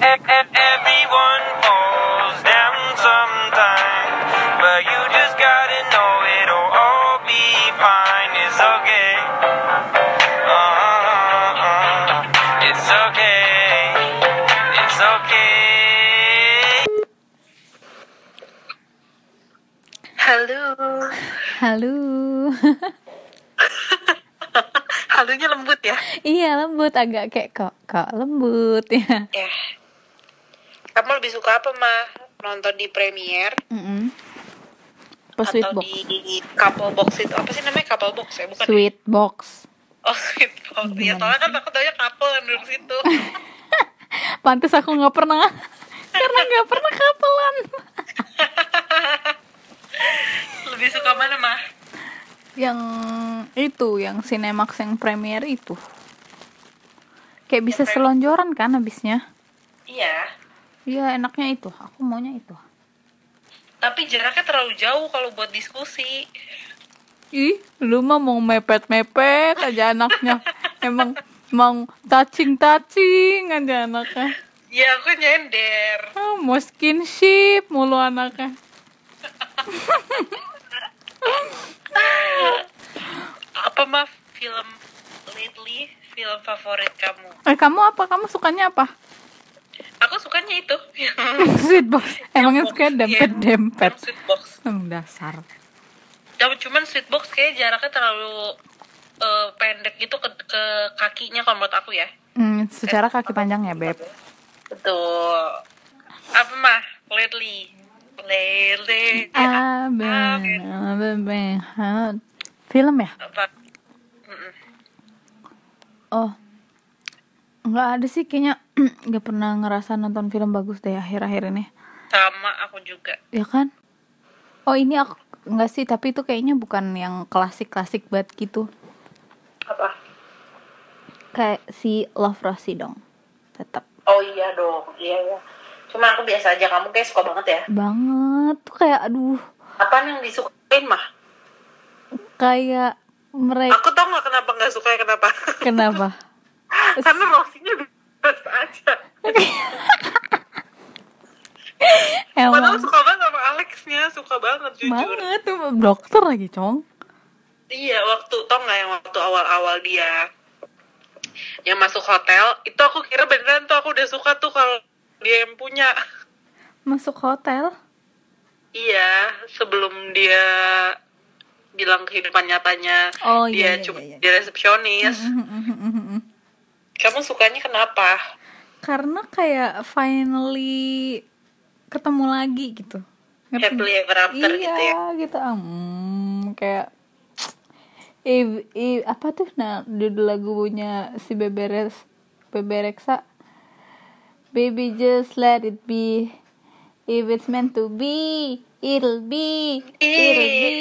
e- e- everyone falls down sometime. But you just gotta know it'll all be fine. It's okay. Uh-uh-uh. Uh-huh. It's okay. It's okay. Halo. Halo. Halunya lembut ya. iya, lembut agak kayak kok kok lembut ya. Ya. Kamu lebih suka apa, mah? Nonton di Premiere Mm-mm. Apa Oh, sweet atau box? di couple box itu apa sih namanya couple box ya bukan Sweet box. oh sweet box ya soalnya kan aku taunya couple yang duduk situ Pantes aku nggak pernah karena nggak pernah kapelan. lebih suka mana mah yang itu, yang Cinemax yang premier itu. Kayak bisa selonjoran kan habisnya. iya Iya, enaknya itu. Aku maunya itu. tapi jaraknya terlalu jauh kalau buat diskusi Ih, lu mah mau mepet-mepet aja anaknya. Emang mau touching-touching aja anaknya. ya aku nyender Ah, mau skinship mulu anaknya. apa mah film lately film favorit kamu Eh, kamu apa? Kamu sukanya apa? aku sukanya itu yang Sweet box. Emangnya Iya, suka kan, dempet-dempet. yang sweet box Hmm, dasar. Tapi cuman sweet box kayak jaraknya terlalu eh, pendek gitu ke, ke kakinya kalau menurut aku ya. Hmm, secara kaki panjang ya, Beb. Betul. Apa mah? Lately. Lately. Ya. Ah, Abang, abang, abang. Film ya? Apa? Mm-mm. Oh. Nggak ada sih kayaknya nggak pernah ngerasa nonton film bagus deh akhir-akhir ini. Sama aku juga. Ya kan? Oh, ini aku nggak sih, tapi itu kayaknya bukan yang klasik-klasik banget gitu. Apa? Kayak si Love Rosie dong. Tetap Oh iya dong. Iya ya. Cuma aku biasa aja kamu kayak suka banget ya. banget tuh kayak aduh Apaan yang disukain mah? kayak mereka Aku tau gak kenapa gak suka kenapa? kenapa Karena rosinya biasa aja. Padahal emang suka banget sama Alexnya, suka banget jujur. banget tuh dokter lagi cong Iya, waktu tau nggak yang waktu awal-awal dia yang masuk hotel, itu aku kira beneran tuh aku udah suka tuh kalau dia yang punya. masuk hotel Iya, sebelum dia bilang kehidupan nyatanya Oh, dia iya, iya, cuma iya, iya. dia resepsionis. Kamu sukanya kenapa? karena kayak finally ketemu lagi gitu Ngerti Happily nggak? ever after iya, gitu ya. gitu Hmm, kayak i- i- apa tuh nah judul lagunya si Beberes Bebereksa Baby just let it be If it's meant to be It'll be It'll be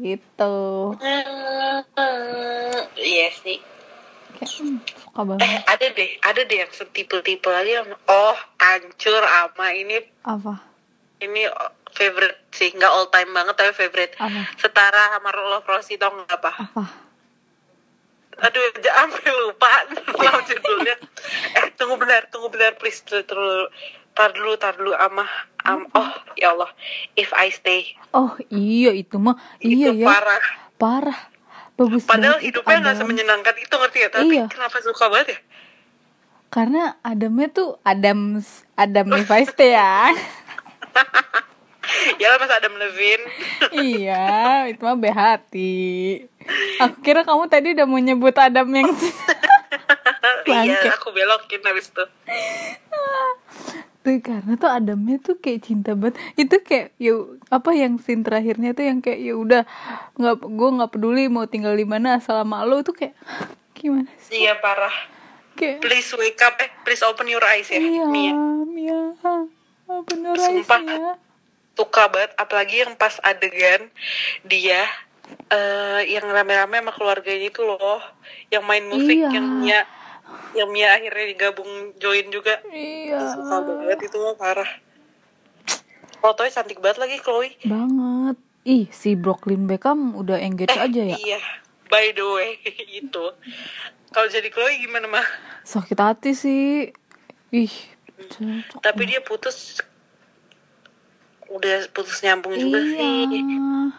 Gitu Hmm, iya sih. Kayak hmm, suka Eh, banget ada deh, ada deh yang setipe-tipe lagi yang oh, hancur ama ini Apa? ini oh, favorite sih nggak all time banget tapi favorite Apa? setara sama Love Rosie tau nggak apa Apa? aduh j- sampai lupa Lupa judulnya eh tunggu benar tunggu benar please dulu dulu tar dulu tar dulu ama am oh ya Allah if I stay Oh iya itu mah Iya itu ya parah parah bagus padahal banget itu hidupnya nggak Adam. semenyenangkan itu ngerti ya tapi Iya. kenapa suka banget ya karena Adamnya tuh Adams Adam Levi's ya ya mas Adam Levine iya itu mah behati aku kira kamu tadi udah mau nyebut Adam yang Bangke. iya aku belokin habis itu tuh karena tuh Adamnya tuh kayak cinta banget itu kayak ya apa yang scene terakhirnya tuh yang kayak ya udah nggak gue nggak peduli mau tinggal di mana asal sama lo tuh kayak gimana sih iya parah kayak please wake up eh please open your eyes ya iya Mia. Mia bener Sumpah. ya suka banget apalagi yang pas adegan dia eh yang rame-rame sama keluarganya itu loh yang main musik Iya. yang Mia yang Mia akhirnya digabung join juga iya suka banget itu mah parah fotonya cantik banget lagi Chloe banget ih si Brooklyn Beckham udah engage aja ya iya by the way gitu. itu kalau jadi Chloe gimana mah sakit hati sih ih Cocok. tapi dia putus udah putus nyambung juga sih Iya.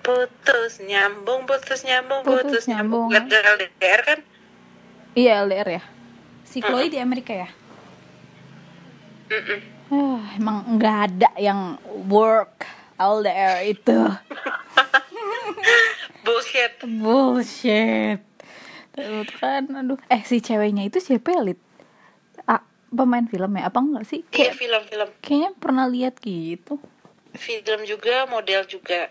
putus nyambung putus nyambung Putus putus, nyambung. nyambung, Bukan LDR kan Iya LDR ya. Si Chloe di Amerika ya? Ah, emang nggak ada yang work LDR itu bullshit bullshit. Tuh kan, aduh. Eh si ceweknya itu siapa ya, Lid? Ah, pemain film ya? Apa enggak sih? iya Kayak, film-film kayaknya pernah lihat gitu. film juga model juga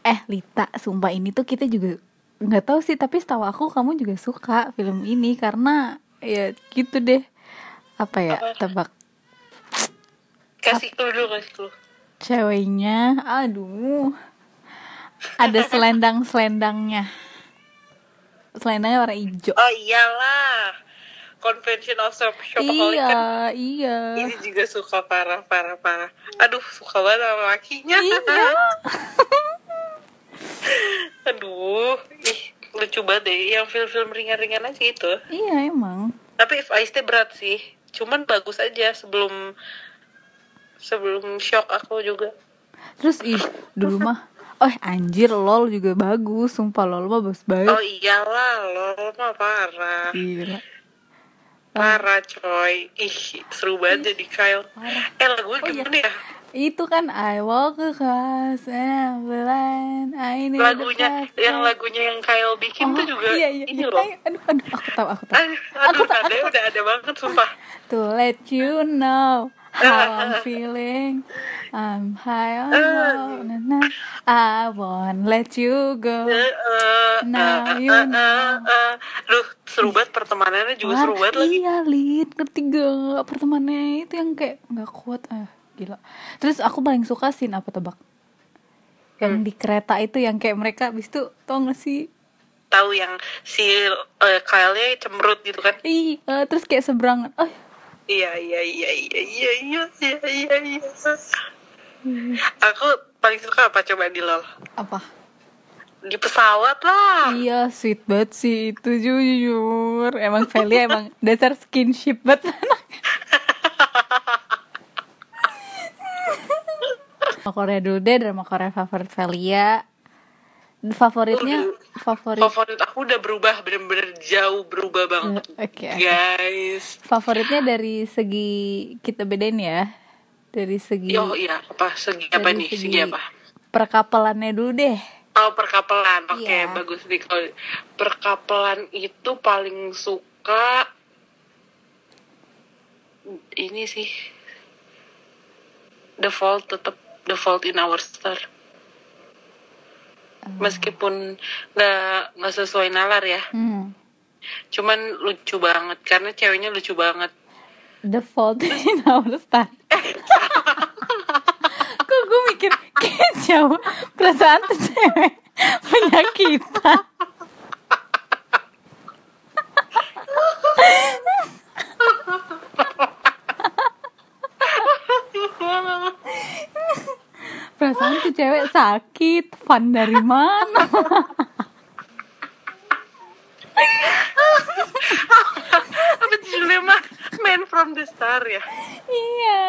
Eh Lita, sumpah ini tuh kita juga nggak tahu sih, tapi setahu aku kamu juga suka film ini karena ya gitu deh. Apa ya? Tebak kasih clue dulu kasih clue ceweknya. Aduh. Ada selendang-selendangnya. Selendangnya warna hijau. oh iyalah convention of shop shopaholic kan Iya, iya. ini juga suka parah parah parah aduh suka banget sama lakinya Iya. aduh ih lucu banget deh yang film-film ringan-ringan aja gitu Iya emang. tapi if I stay berat sih cuman bagus aja sebelum sebelum shock aku juga Terus ih, dulu mah Oh anjir lol juga bagus Sumpah lol mah bagus oh banget iyalah lo mah Oh, parah Gila. parah coy ih seru banget jadi Kyle eh lagu Oh, iya. gimana ya Itu kan I walk across Ah, and blind I need lagunya yang lagunya yang Kyle bikin tuh juga kan. iya, iya, ini iya. loh Ay, Aduh, aduh, aku tahu, aku tahu. Ah, aduh Aku tak- tandanya udah ada banget sumpah To let you know how I'm feeling. I'm high on Ah. love. na, na. I won't let you go. Eh, eh, Nah, eh, you eh, eh, eh. Aduh, seru banget pertemanannya juga seru Wah, banget lagi. Iya, Lid. Ngerti gak? Pertemanannya itu yang kayak gak kuat. Ah, gila. Terus aku paling suka scene apa tebak? Yang Hmm. di kereta itu yang kayak mereka abis itu tau gak sih? Tahu yang si eh, Kyle-nya cemberut gitu kan. Ih, eh, terus kayak seberangan. Oh, Iya, iya, iya, iya, iya, iya, iya, iya, iya. Aku paling suka apa coba di LOL? apa? Di pesawat lah. Iya, sweet banget sih itu jujur. Emang Velia emang dasar skinship banget anak. drama Korea dulu deh, drama Korea favorit Velia. Favoritnya, favorit, eh, Favorit aku udah berubah bener-bener jauh berubah banget. Mm, Oke. Iya. Guys. favoritnya dari segi kita bedain ya. Dari segi, Yo, iya, apa segi apa dari nih? Segi apa? Perkapelannya dulu deh. Oh perkapelan, oke Iya. bagus nih kalau perkapelan itu paling suka ini sih The Fault tetap The Fault in Our Star Ah. meskipun nggak nggak sesuai nalar ya Hmm. cuman lucu banget karena ceweknya lucu banget The Fault in Our Stars. Kok gue mikir kayak jauh perasaan tuh cewek penyakitan. perasaan tuh cewek sakit, fun dari mana? apa judulnya mah Man from the Star ya iya.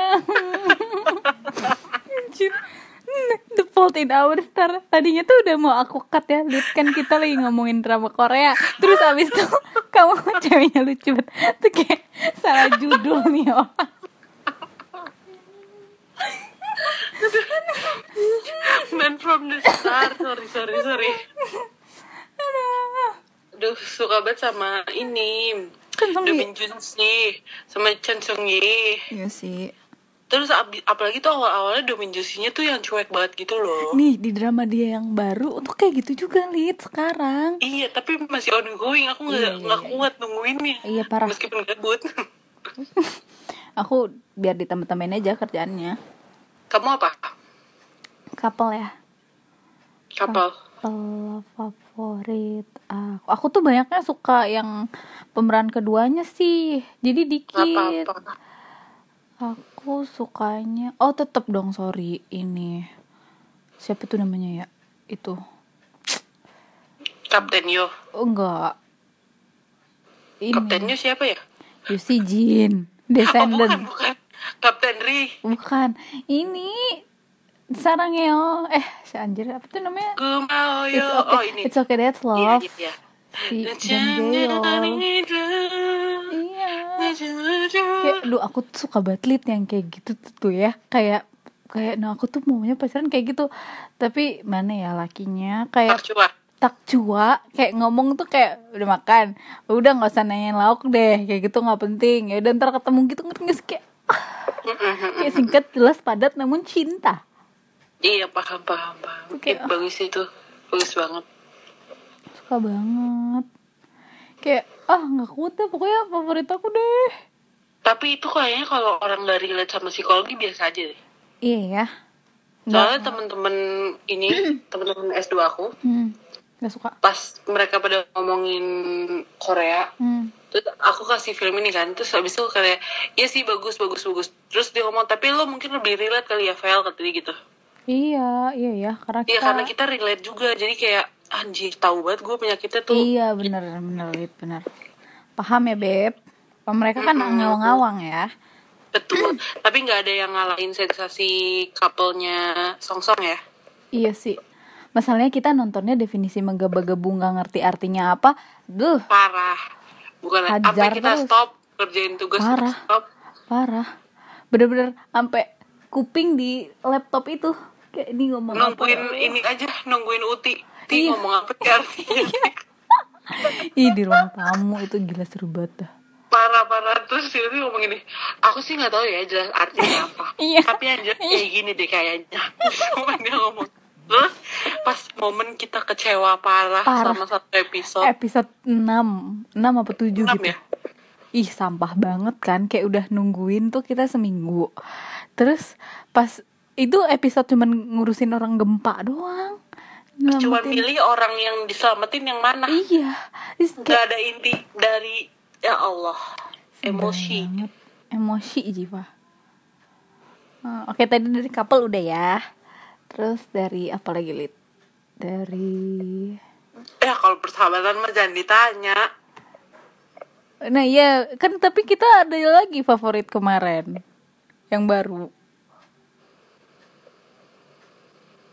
Anjir. The Fault in Our Star Tadinya tuh udah mau aku cut ya Lid kan kita lagi ngomongin drama Korea Terus abis itu kamu ceweknya lucu banget Tuh kayak salah judul nih orang Man from the Star sorry sorry sorry Aduh. Aduh, suka banget sama ini. Kan Song The Yi. Min Jun Si, sama Chen Sung Yi. Iya sih. Terus abi- apalagi tuh awal-awalnya Do Min Jun Si-nya tuh yang cuek banget gitu loh. Nih di drama dia yang baru Tuh kayak gitu juga Lid sekarang Iya, tapi masih ongoing. Aku nggak Iya, iya, nggak iya. kuat nungguinnya. Iya, parah. Meskipun gabut. Aku biar ditambah-tambahin aja kerjaannya Kamu apa? Couple ya Kapal. Couple favorit aku aku tuh banyaknya suka yang pemeran keduanya sih jadi Nggak dikit apa-apa. aku sukanya oh tetep dong sorry ini siapa tuh namanya ya itu Kapten Yo. oh enggak ini Kapten Yo siapa ya? Yusi Jin bukan Descendant. bukan Kapten Ri Bukan. Ini Sarangeo. Eh, si anjir apa tuh namanya? Kumaoyo It's oh okay. ini It's okay that's Iya, love. iya. Si Jangdeo. Najamnya Iya. Kayak, lu aku tuh suka banget lead yang kayak gitu tuh, tuh ya. Kayak kayak nah aku tuh maunya pacaran kayak gitu. Tapi mana ya lakinya kayak Percuma. takjua kayak ngomong tuh kayak udah makan udah nggak usah nanyain lauk deh kayak gitu nggak penting ya udah ntar ketemu gitu ngerti nggak sih? kayak kayak singkat jelas padat namun cinta Iya paham paham paham. Oke. oh. Ih, bagus itu bagus banget. suka banget kayak ah nggak kuat deh pokoknya favorit aku deh Tapi itu kayaknya kalau orang nggak relate sama psikologi biasa aja deh. iya ya Soalnya temen-temen ini temen-temen S2 aku hmm. nggak suka pas mereka pada ngomongin Korea hmm. terus aku kasih film ini kan terus habis itu kayak iya sih bagus bagus bagus terus dia ngomong tapi lo mungkin lebih relate kali ya Vel kata dia gitu iya iya ya karena kita Iya karena kita relate juga jadi kayak anjir tahu banget gue penyakitnya tuh iya bener bener Lid, bener paham ya beb Kalau mereka kan ngawang-ngawang ya betul tapi nggak ada yang ngalahin sensasi couple-nya Song Song ya Iya sih. Masalahnya kita nontonnya definisi menggebu-gebu nggak ngerti artinya apa. Duh, parah bukan Hajar sampai kita terus. stop kerjain tugas Parah. stop parah. Bener-bener sampai kuping di laptop itu kayak ini ngomong apa nungguin ya? ini aja nungguin Uti Ti Iya. ngomong apa ya artinya Ih, di ruang tamu itu gila seru banget dah. parah parah terus si Uti ngomong gini aku sih nggak tahu ya jelas artinya apa Iya. tapi anjir kayak gini deh kayaknya Cuman dia ngomong terus pas momen kita kecewa parah, Parah. Eh, sama satu episode Episode 6, 6 apa 7 enam gitu. ya Ih, sampah banget kan kayak udah nungguin tuh kita seminggu. Terus pas itu episode cuman ngurusin orang gempa doang. cuma Nyelamatin- pilih orang yang diselamatin yang mana Iya. Terus kayak- nggak ada inti dari ya Allah emosi Sedang banget. emosi jiwa Eh, oke tadi dari couple udah ya terus dari apa lagi lid dari ya kalau persahabatan mah jangan ditanya nah iya kan tapi kita ada lagi favorit kemarin yang baru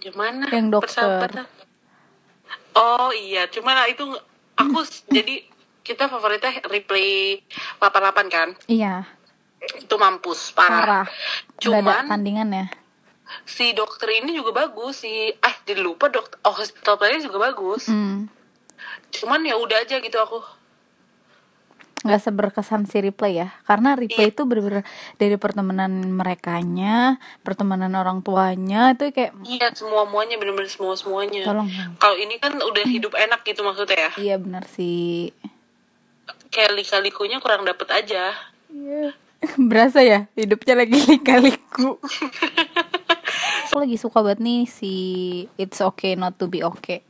gimana Yang dokter. persahabatan oh iya cuman itu aku s- jadi kita favoritnya replay 88 kan iya itu mampus parah, parah Ah, Udah ada ya. cuman tandingannya si dokter ini juga bagus si ah jadi lupa dokter oh hospital planet juga bagus Hmm. cuman ya udah aja gitu aku nggak seberkesan si replay ya karena replay itu bener-bener dari pertemanan merekanya pertemanan orang tuanya itu kayak iya semua muanya bener-bener semua semuanya tolong Hmm. kalau ini kan udah hidup enak gitu maksudnya ya iya benar sih kayak lika-likunya kurang dapet aja Berasa ya hidupnya lagi lika-liku. Aku lagi suka banget nih si It's Okay Not to Be Okay.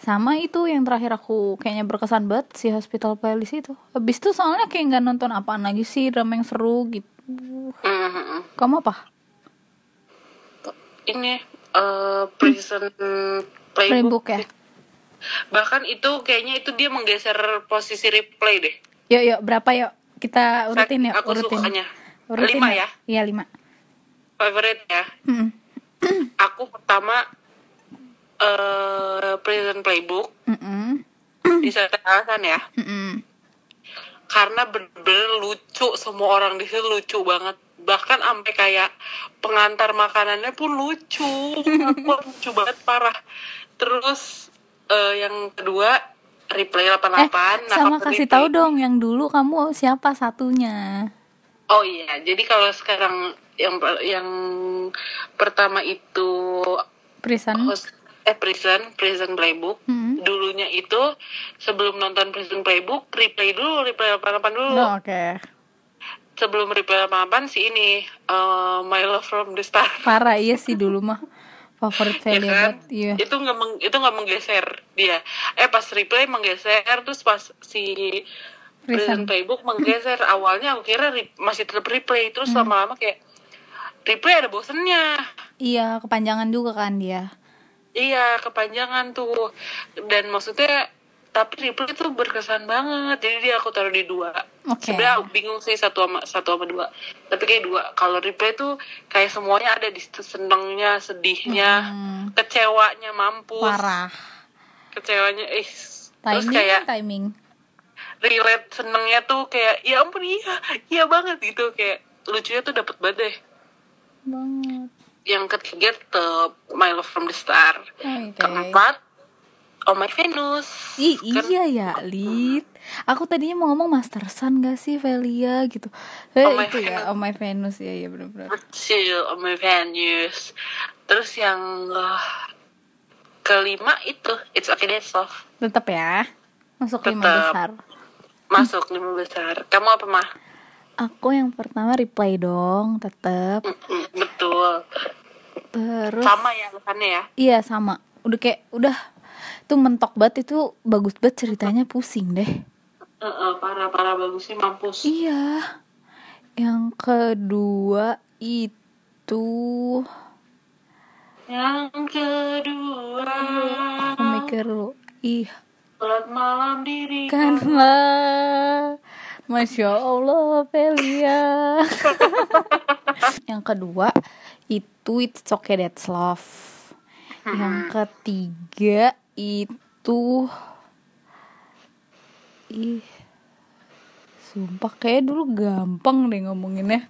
Sama itu yang terakhir aku kayaknya berkesan banget si Hospital Playlist itu. Habis itu soalnya kayak nggak nonton apaan lagi sih drama yang seru gitu. Mhm. Kamu apa? ini eh, prison playbook. Playbook ya. bahkan itu kayaknya itu dia menggeser posisi replay deh Yuk yuk berapa yuk kita urutin ya aku urutin. sukanya Urutin lima ya Iya lima. favorite ya Mm-mm. aku pertama eh prison playbook Mm-mm. di alasan ya Mm-mm. karena bener-bener lucu semua orang di situ lucu banget bahkan sampai kayak pengantar makanannya pun lucu Aku lucu banget parah terus eh, yang kedua replay 88 Eh nah, sama kamu kasih replay. tahu dong yang dulu kamu siapa satunya. oh iya jadi kalau sekarang yang yang pertama itu Prison. host eh prison prison playbook Hmm. dulunya itu sebelum nonton prison playbook replay dulu replay 88 dulu Oh, Oke. sebelum Reply 88 sih ini eh, My Love from the Star Parah iya sih dulu mah favorit ya Velia kan? banget. Iya. itu nggak meng- itu nggak menggeser dia eh pas replay menggeser terus pas si Prison. Prison Playbook menggeser awalnya aku kira re- masih tetap replay terus Hmm. lama-lama kayak replay ada bosennya Iya, kepanjangan juga kan dia. iya kepanjangan tuh dan maksudnya tapi Ripple itu berkesan banget jadi dia aku taruh di dua Oke. sebenarnya aku bingung sih satu sama satu sama dua tapi kayak dua kalau Ripple itu kayak semuanya ada di situ senengnya sedihnya kecewanya mampus Hmm. Mm, parah kecewanya ih terus timing kayak timing relate senengnya tuh kayak ya ampun iya iya banget gitu kayak lucunya tuh dapet banget deh banget yang ketiga tetap My Love from the Star Oke. keempat Oh My Venus Ih, Kan- iya ya, Lid. Aku tadinya mau ngomong Master Sun gak sih, Velia gitu. Eh, Oh my itu ya, Venus. Oh My Venus ya, ya benar-benar. Betul, Oh My Venus terus yang eh, kelima itu It's Okay That's Love Tetap ya. Masuk lima Tetep. besar. masuk lima besar kamu apa mah Aku yang pertama replay dong, tetap. Mm, betul Terus sama ya alasannya ya iya sama. Udah kayak udah tuh mentok banget itu bagus banget ceritanya pusing deh. parah parah bagusnya mampus Iya. Yang kedua itu yang kedua aku mikir lu. Ih, Selamat malam diri Kan. Kanlah Masya Allah Velia Yang kedua Itu It's Okay That's Love Yang ketiga Itu Ih Sumpah kayak dulu gampang deh ngomonginnya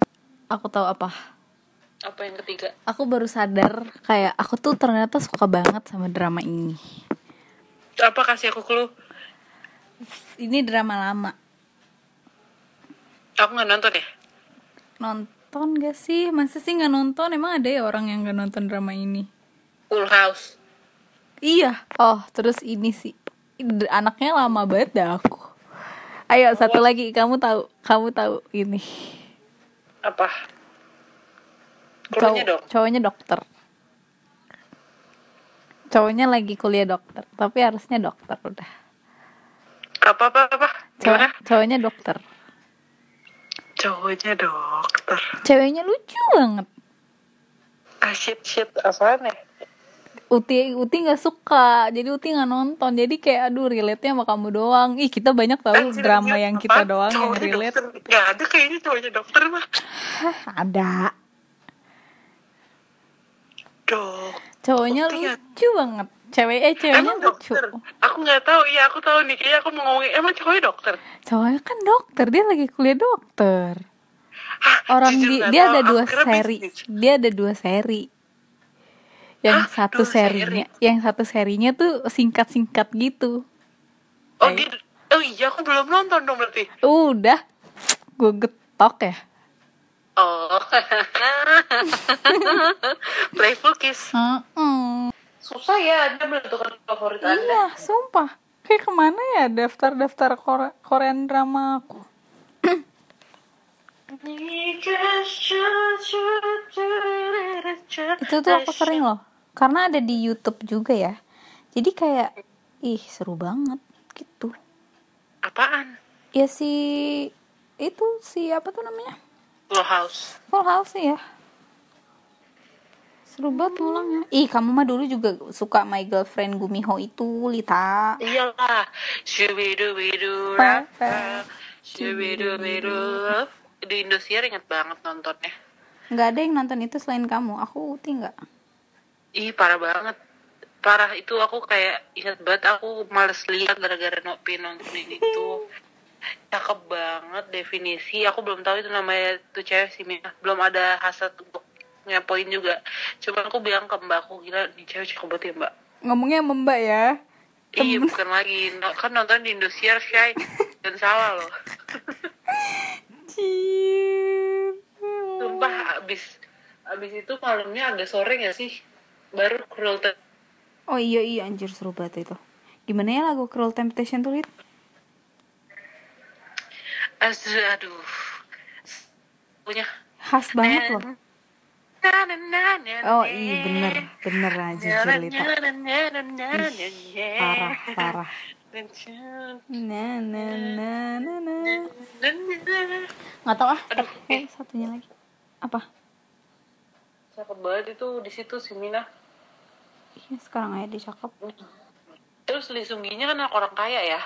Aku tahu apa apa yang ketiga Aku baru sadar kayak aku tuh ternyata suka banget sama drama ini apa kasih aku clue Ini drama lama aku nggak nonton ya nonton gak sih? Masa sih nggak nonton? Emang ada ya orang yang nggak nonton drama ini? Full House Iya. Oh, terus ini sih D- anaknya lama banget dah aku. Ayo satu lagi kamu tahu, kamu tahu ini. apa Cowok- clue-nya dong Cowoknya dokter. Cowoknya lagi kuliah dokter, tapi harusnya dokter udah. apa apa apa Cowok- gimana cowoknya dokter. cowoknya dokter Ceweknya lucu banget. ah shit shit apaan ya Uti Uti nggak suka, jadi Uti nggak nonton. Jadi kayak aduh relate nya sama kamu doang. Ih kita banyak tahu Anjir, drama anjir, yang kita Eh, apaan? doang yang Cowoknya relate. dokter. nggak ada kayaknya cowoknya dokter mah Hah, ada. dok Cowoknya Bukti ya. lucu banget. Cewek eh ceweknya emang lucu. dokter aku nggak tahu iya aku tahu nih kayaknya aku mau ngomongin emang cowoknya dokter Cowoknya kan dokter, dia lagi kuliah dokter. Hah, Orang jujur di, nggak dia tahu. ada Aku dua kira seri. bisnis. Dia ada dua seri. Yang Hah, satu dua seri? serinya, yang satu serinya tuh singkat-singkat gitu. oh dia oh iya aku belum nonton dong berarti Udah, gue getok ya. oh playful kiss Heeh. susah ya anda menentukan favorit anda Iya, sumpah. Kayak kemana ya daftar-daftar kore- Korean drama aku? itu tuh aku sering loh karena ada di YouTube juga ya jadi kayak ih seru banget gitu apaan ya si itu si apa tuh namanya Full House Full House ya seru banget ngulangnya ih kamu mah dulu juga suka my girlfriend Gumiho itu Lita iyalah shubidubidu Papa. shubidubidu di Indosiar inget banget nontonnya nggak ada yang nonton itu selain kamu aku Uti nggak ih parah banget parah itu aku kayak inget banget aku males lihat gara-gara nopi nontonin itu cakep banget definisi aku belum tahu itu namanya tuh cewek sih Mia. belum ada hasrat untuk ngepoin juga cuman aku bilang ke mbak aku gila nih cewek cakep banget ya mbak ngomongnya sama Mbak ya iya bukan lagi No- kan nonton di Indosiar Shay dan salah loh Cier. sumpah abis abis itu malamnya agak sore gak sih baru cruel Te- oh iya iya anjir seru banget itu gimana ya lagu Cruel Temptation tuh Lit? As- aduh punya khas banget loh Oh iya bener bener aja Jelita parah parah. Na na na na na. Nggak tau ah. Aduh. Eh satunya lagi apa? Cakep banget itu di situ si Mina. Iya sekarang aja dia cakep. Itu terus Lee Sungginya kan anak orang kaya ya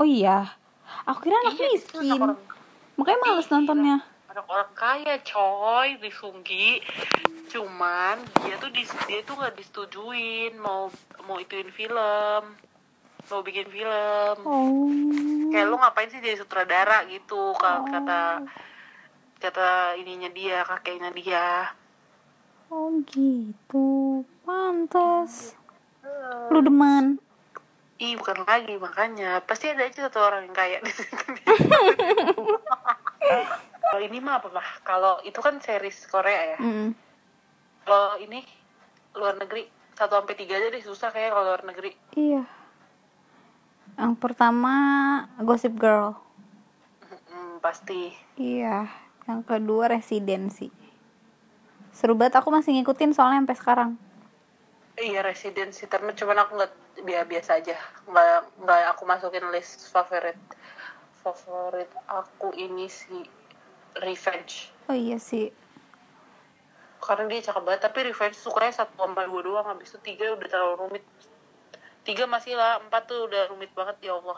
Oh iya. Aku kira anak Iya, dia tuh miskin. anak orang- Iya. Makanya males nontonnya. anak orang kaya coy Lee Sunggi cuman dia tuh dis, dia tuh nggak disetujuin mau mau ituin film mau bikin film Oh. kayak lu ngapain sih jadi sutradara gitu kalau kata kata ininya dia kakeknya dia Oh gitu. Pantes. Lu demen. Ih, bukan lagi makanya. Pasti ada aja satu orang yang kaya di sini. Kalau ini mah apa mah? Kalau itu kan series Korea ya. Mm. Kalau ini luar negeri satu sampai tiga aja deh susah kayak kalau luar negeri. Iya. Yang pertama Gossip Girl. Mm, pasti. Iya. Yang kedua Residensi. Seru banget aku masih ngikutin soalnya sampai sekarang. Iya residensi termen cuman aku nggak biasa biasa aja. Nggak nggak aku masukin list favorit favorit aku ini si Revenge. Oh iya sih. karena dia cakep banget tapi revenge sukanya satu sama dua doang habis itu tiga udah terlalu rumit tiga masih lah empat tuh udah rumit banget ya allah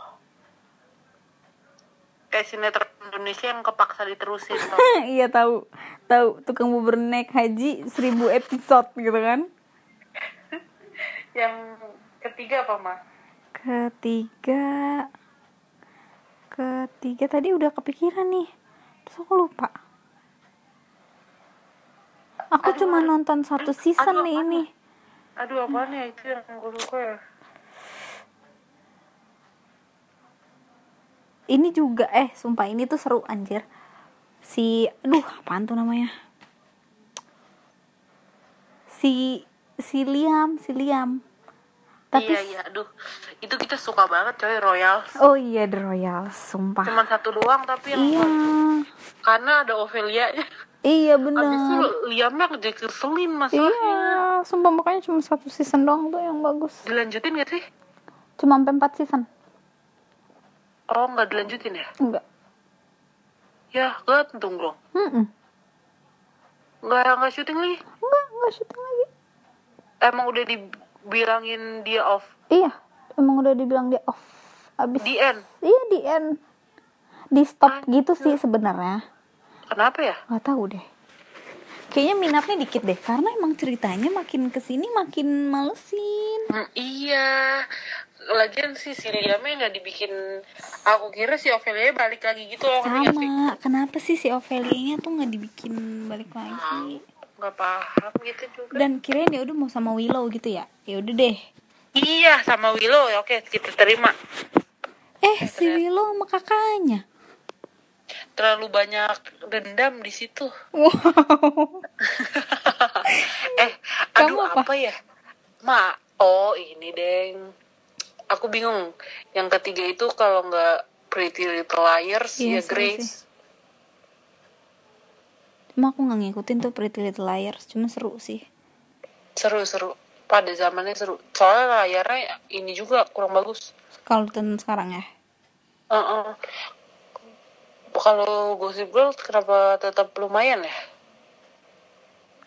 kayak sinetron Indonesia yang kepaksa diterusin tau. iya tahu. Tahu tukang bubur naik haji 1000 episode gitu kan. yang ketiga apa mah Ketiga Ketiga tadi udah kepikiran nih Terus aku lupa Aku cuma nonton satu season aduh, nih apaan ini aduh apaan ya itu yang gue suka ya Ini juga eh sumpah ini tuh seru anjir Si Aduh apaan tuh namanya Si Si Liam Si Liam Tapi iya iya aduh itu kita suka banget coy royal Oh iya The Royal Sumpah cuman satu doang tapi yang Iya karena ada Ovelia nya Iya habis itu bener Liamnya kerja keselin masalahnya Iya, sumpah makanya cuma satu season doang tuh yang bagus. dilanjutin gak sih Cuma sampai 4 season. oh nggak dilanjutin ya Enggak. ya gantung dong Mm-mm. nggak nggak syuting lagi Enggak, enggak syuting lagi. emang udah dibilangin dia off Iya, emang udah dibilang dia off. Abis di end iya di end. Di stop gitu sih sebenarnya. kenapa ya Enggak tahu deh. Kayaknya minatnya dikit deh karena emang ceritanya makin kesini makin malesin. Hmm, iya lagian sih si Liamnya nggak dibikin aku kira si Ovelia balik lagi gitu loh ngerti nggak sih? Sama, kenapa sih si Ovelia-nya tuh nggak dibikin balik lagi? nggak paham gitu juga Dan kirain ya udah mau sama Willow gitu ya. Ya udah deh. iya sama Willow ya oke kita terima Eh, si Willow sama kakaknya. terlalu banyak dendam di situ Wow. eh Kamu aduh apa? apa? ya ma oh ini deng aku bingung yang ketiga itu kalau nggak Pretty Little Liars ya Iya, seru sih. Grace Cuma aku nggak ngikutin tuh Pretty Little Liars, cuma seru sih. seru seru pada zamannya seru soalnya layarnya ini juga kurang bagus Kalau tonton sekarang ya. Heeh. kalau gosip girl kenapa tetap lumayan ya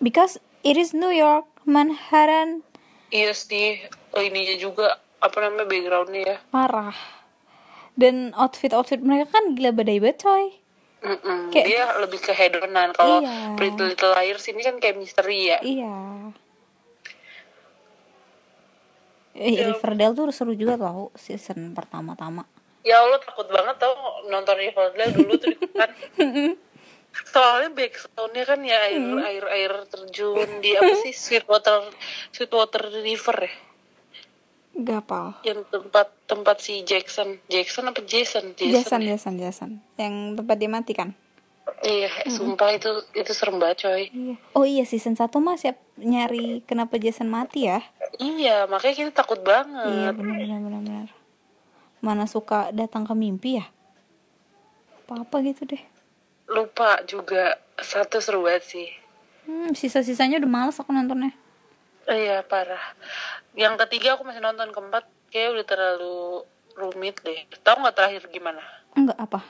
Because it is New York, Manhattan, iya sih oh, ininya juga apa namanya backgroundnya ya parah. Dan outfit-outfit mereka kan gila badai banget coy. Mm-mm. Kayak- dia lebih ke hedonan kalau Iya. Pretty Little Liars ini kan kayak misteri ya Iya. Eh, Riverdale tuh seru juga tau season pertama-tama. ya Allah takut banget tau nonton Riverdale dulu tuh di Kupan. soalnya backgroundnya kan ya air Hmm. air air terjun di apa sih Sweetwater Sweetwater River ya Gapal. yang tempat tempat si Jackson Jackson apa Jason Jason, ya? Jason, Jason. Yang tempat dia mati kan? iya Hmm. sumpah itu itu serem banget coy Iya. Oh iya season 1 mah siap nyari kenapa Jason mati ya? iya makanya kita takut Iya banget benar benar benar benar. Mana suka datang ke mimpi ya? Apa-apa gitu deh. lupa juga satu seru banget sih Hmm, sisa-sisanya udah males aku nontonnya. iya parah yang ketiga aku masih nonton keempat kayak udah terlalu rumit deh tau nggak terakhir gimana Enggak apa.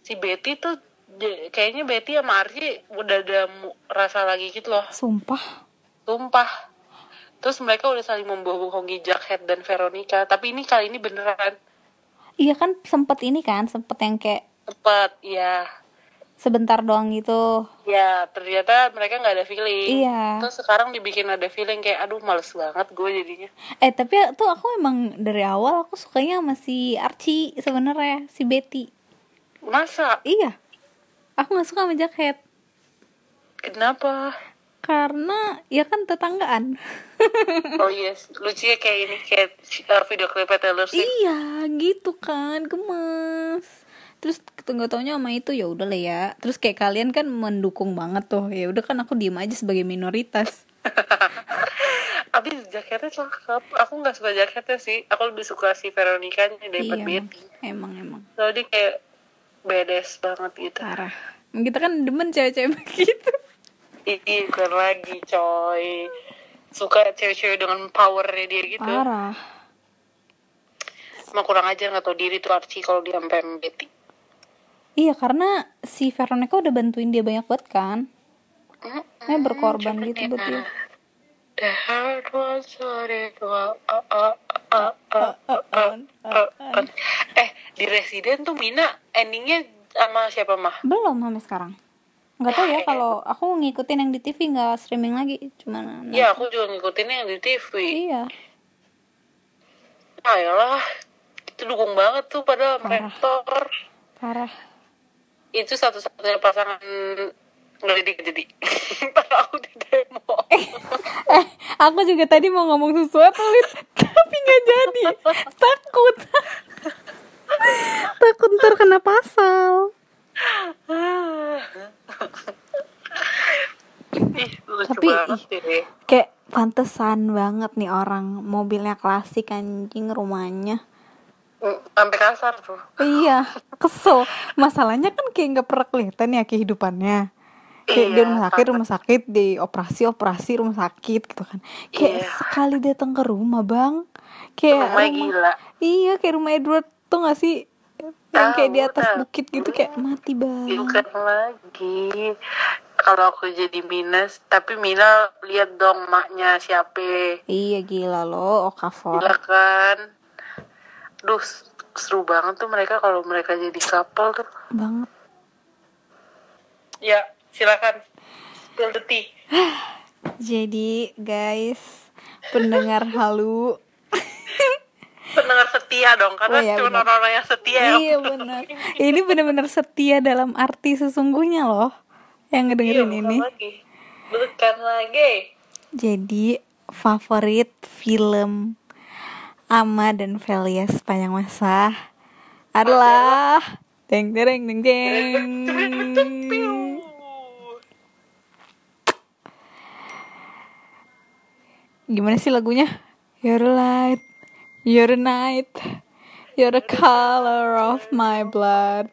si Betty tuh j- kayaknya Betty sama Archie udah ada mu- rasa lagi gitu loh Sumpah. tumpah terus mereka udah saling membohongi Jackhead dan Veronica tapi ini kali ini beneran Iya kan sempet ini kan, sempet yang kayak tepat ya sebentar doang gitu. ya ternyata mereka nggak ada feeling Iya. terus sekarang dibikin ada feeling kayak aduh males banget gue jadinya Eh tapi tuh aku emang dari awal aku sukanya sama si Archie sebenarnya si Betty. masa Iya, aku nggak suka sama Jackhead kenapa karena ya kan tetanggaan. oh yes lucunya kayak ini kayak uh, video klipnya Taylor Swift iya gitu kan, gemes. Terus nggak taunya sama itu ya udah lah ya. Terus kayak kalian kan mendukung banget tuh. Ya udah kan aku diem aja sebagai minoritas. abis jaketnya cakep aku nggak suka jaketnya sih aku lebih suka si Veronica daripada iya, Betty emang emang soalnya dia kayak bedes banget gitu parah. Kita kan demen cewek-cewek begitu. Ih, bukan lagi coy Suka cewek-cewek dengan powernya dia gitu Parah. Emang kurang ajar gak tau diri tuh Archie kalau dia sampai sama Betty Iya karena si Veronica udah bantuin dia banyak banget kan. Mm-mm, Kayak berkorban gitu buat dia. Hmm? The heart was what it was. Uh, uh, uh, uh, uh, uh, uh. Eh, di Resident tuh Mina endingnya sama siapa mah? Belum sampai sekarang. Nggak tahu ya kalau aku ngikutin yang di TV nggak streaming lagi, cuman Ya, aku juga ngikutinnya yang di TV. iya. Ayolah, itu dukung banget tuh pada rektor. Parah. itu satu-satunya pasangan ngelidik jadi kalau aku di demo Eh, aku juga tadi mau ngomong sesuatu, Wit, tapi nggak jadi. Takut. Takut ntar kena pasal. ih lucu Tapi, banget sih Kayak pantesan banget nih orang mobilnya klasik anjing rumahnya. Mm, sampai kasar tuh Iya, kesel. Masalahnya kan kayak nggak pernah kelihatan ya kehidupannya. Kayak di Iya, rumah sakit, rumah sakit, di operasi, operasi, rumah sakit gitu kan. Kayak Iya. sekali datang ke rumah bang, kayak Rumahnya gila. Iya, kayak rumah Edward tuh nggak sih? Yang kayak di Tahu, atas tahu. Iya. bukit gitu kayak mati bang. bukan lagi kalau aku jadi minus tapi Mina lihat dong maknya siapa Iya gila lo, Okafor. gila kan duh seru banget tuh mereka kalau mereka jadi couple tuh banget. ya silakan spill the tea Jadi guys, pendengar halu. pendengar setia dong karena Oh, iya, cuma benar. orang-orang yang setia yang Iya benar. Ini benar-benar setia dalam arti sesungguhnya loh yang Iya, ngedengerin bukan ini. lagi. Bukan lagi. Jadi favorit film Ama dan Velia sepanjang masa adalah deng deng deng deng. Gimana sih lagunya? You're a light, you're a night, you're the color of my blood.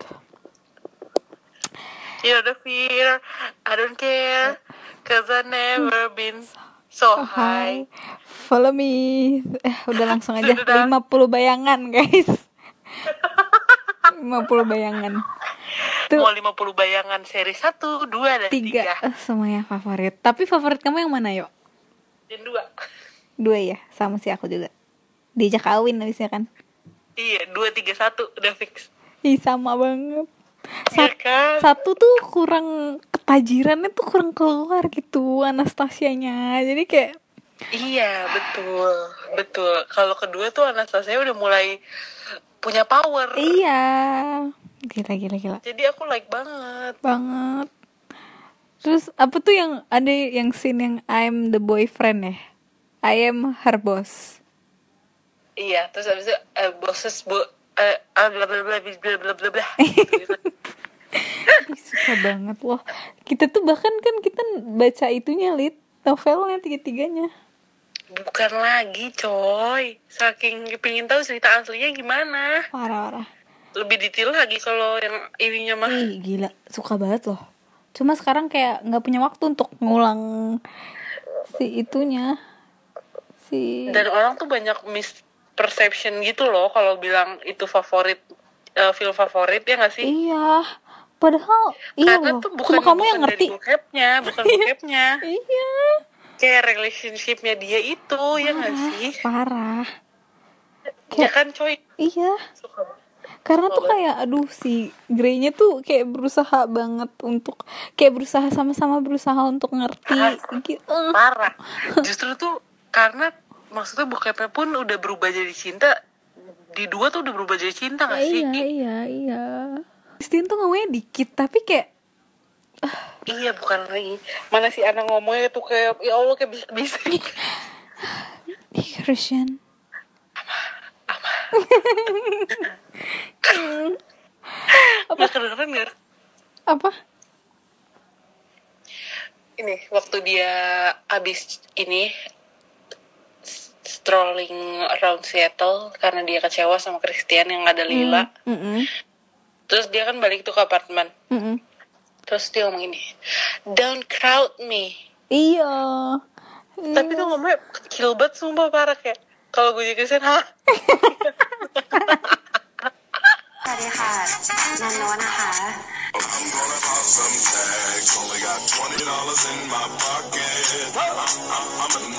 You're the fear, I don't care, cause I Hmm. never been so high. Oh, Follow me. Eh, udah langsung aja. Udah. 50 bayangan, guys. 50 bayangan. Tuh. Mau 50 bayangan seri 1, 2, dan 3. Tiga. Eh, semuanya favorit. Tapi favorit kamu yang mana, yuk? Dan 2. Dua ya, sama si aku juga. Diajak kawin habisnya kan. Iya, 2, 3, 1, udah fix. Ih, sama banget. Iya kan? Satu tuh kurang ketajirannya tuh kurang keluar gitu Anastasianya. Jadi kayak Iya, betul. Betul. Kalau kedua tuh Anastasia udah mulai punya power. iya. Gila gila gila. Jadi aku like banget. banget terus apa tuh yang ada yang scene yang I'm the boyfriend ya I am her boss Iya, terus abis itu eh, bosses bu eh ah, bla bla bla bla bla bla bla bla. Gitu. Ih, suka banget loh kita tuh bahkan kan kita baca itunya lit novelnya tiga tiganya Bukan lagi, coy. Saking pingin tahu cerita aslinya gimana. parah parah Lebih detail lagi kalau yang ininya mah. Ih, gila suka banget loh cuma sekarang kayak nggak punya waktu untuk ngulang si itunya si Dan orang tuh banyak misperception gitu loh kalau bilang itu favorit eh, film favorit ya nggak sih? iya padahal iya Karena loh tuh bukan cuma kamu yang bukan dari ngerti bokepnya, bukan bokepnya. iya kayak relationshipnya dia itu ya nggak Ah. sih parah ya kan coy iya suka banget. karena tuh kayak aduh si Grey-nya tuh kayak berusaha banget untuk kayak berusaha sama-sama berusaha untuk ngerti gitu parah justru tuh karena maksudnya bokepnya pun udah berubah jadi cinta di dua tuh udah berubah jadi cinta gak sih iya iya iya Christine tuh ngomongnya dikit tapi kayak iya bukan lagi mana sih anak ngomongnya tuh kayak ya allah kayak bisik-bisik Iya, ih Christian nggak kedengeran nggak? Iya. apa ini waktu dia abis ini s- strolling around Seattle karena dia kecewa sama Christian yang ada Hmm. Lila Mm-mm. terus dia kan balik tuh ke apartemen Mm-mm. terus dia ngomong ini don't crowd me iya tapi tuh ngomongnya kecil banget sumpah parah kayak kalau gue jadi Christian hah สวัสดีค่ะนันโนนะคะ Only got twenty dollars in my pocket. I'm, I'm, I'm a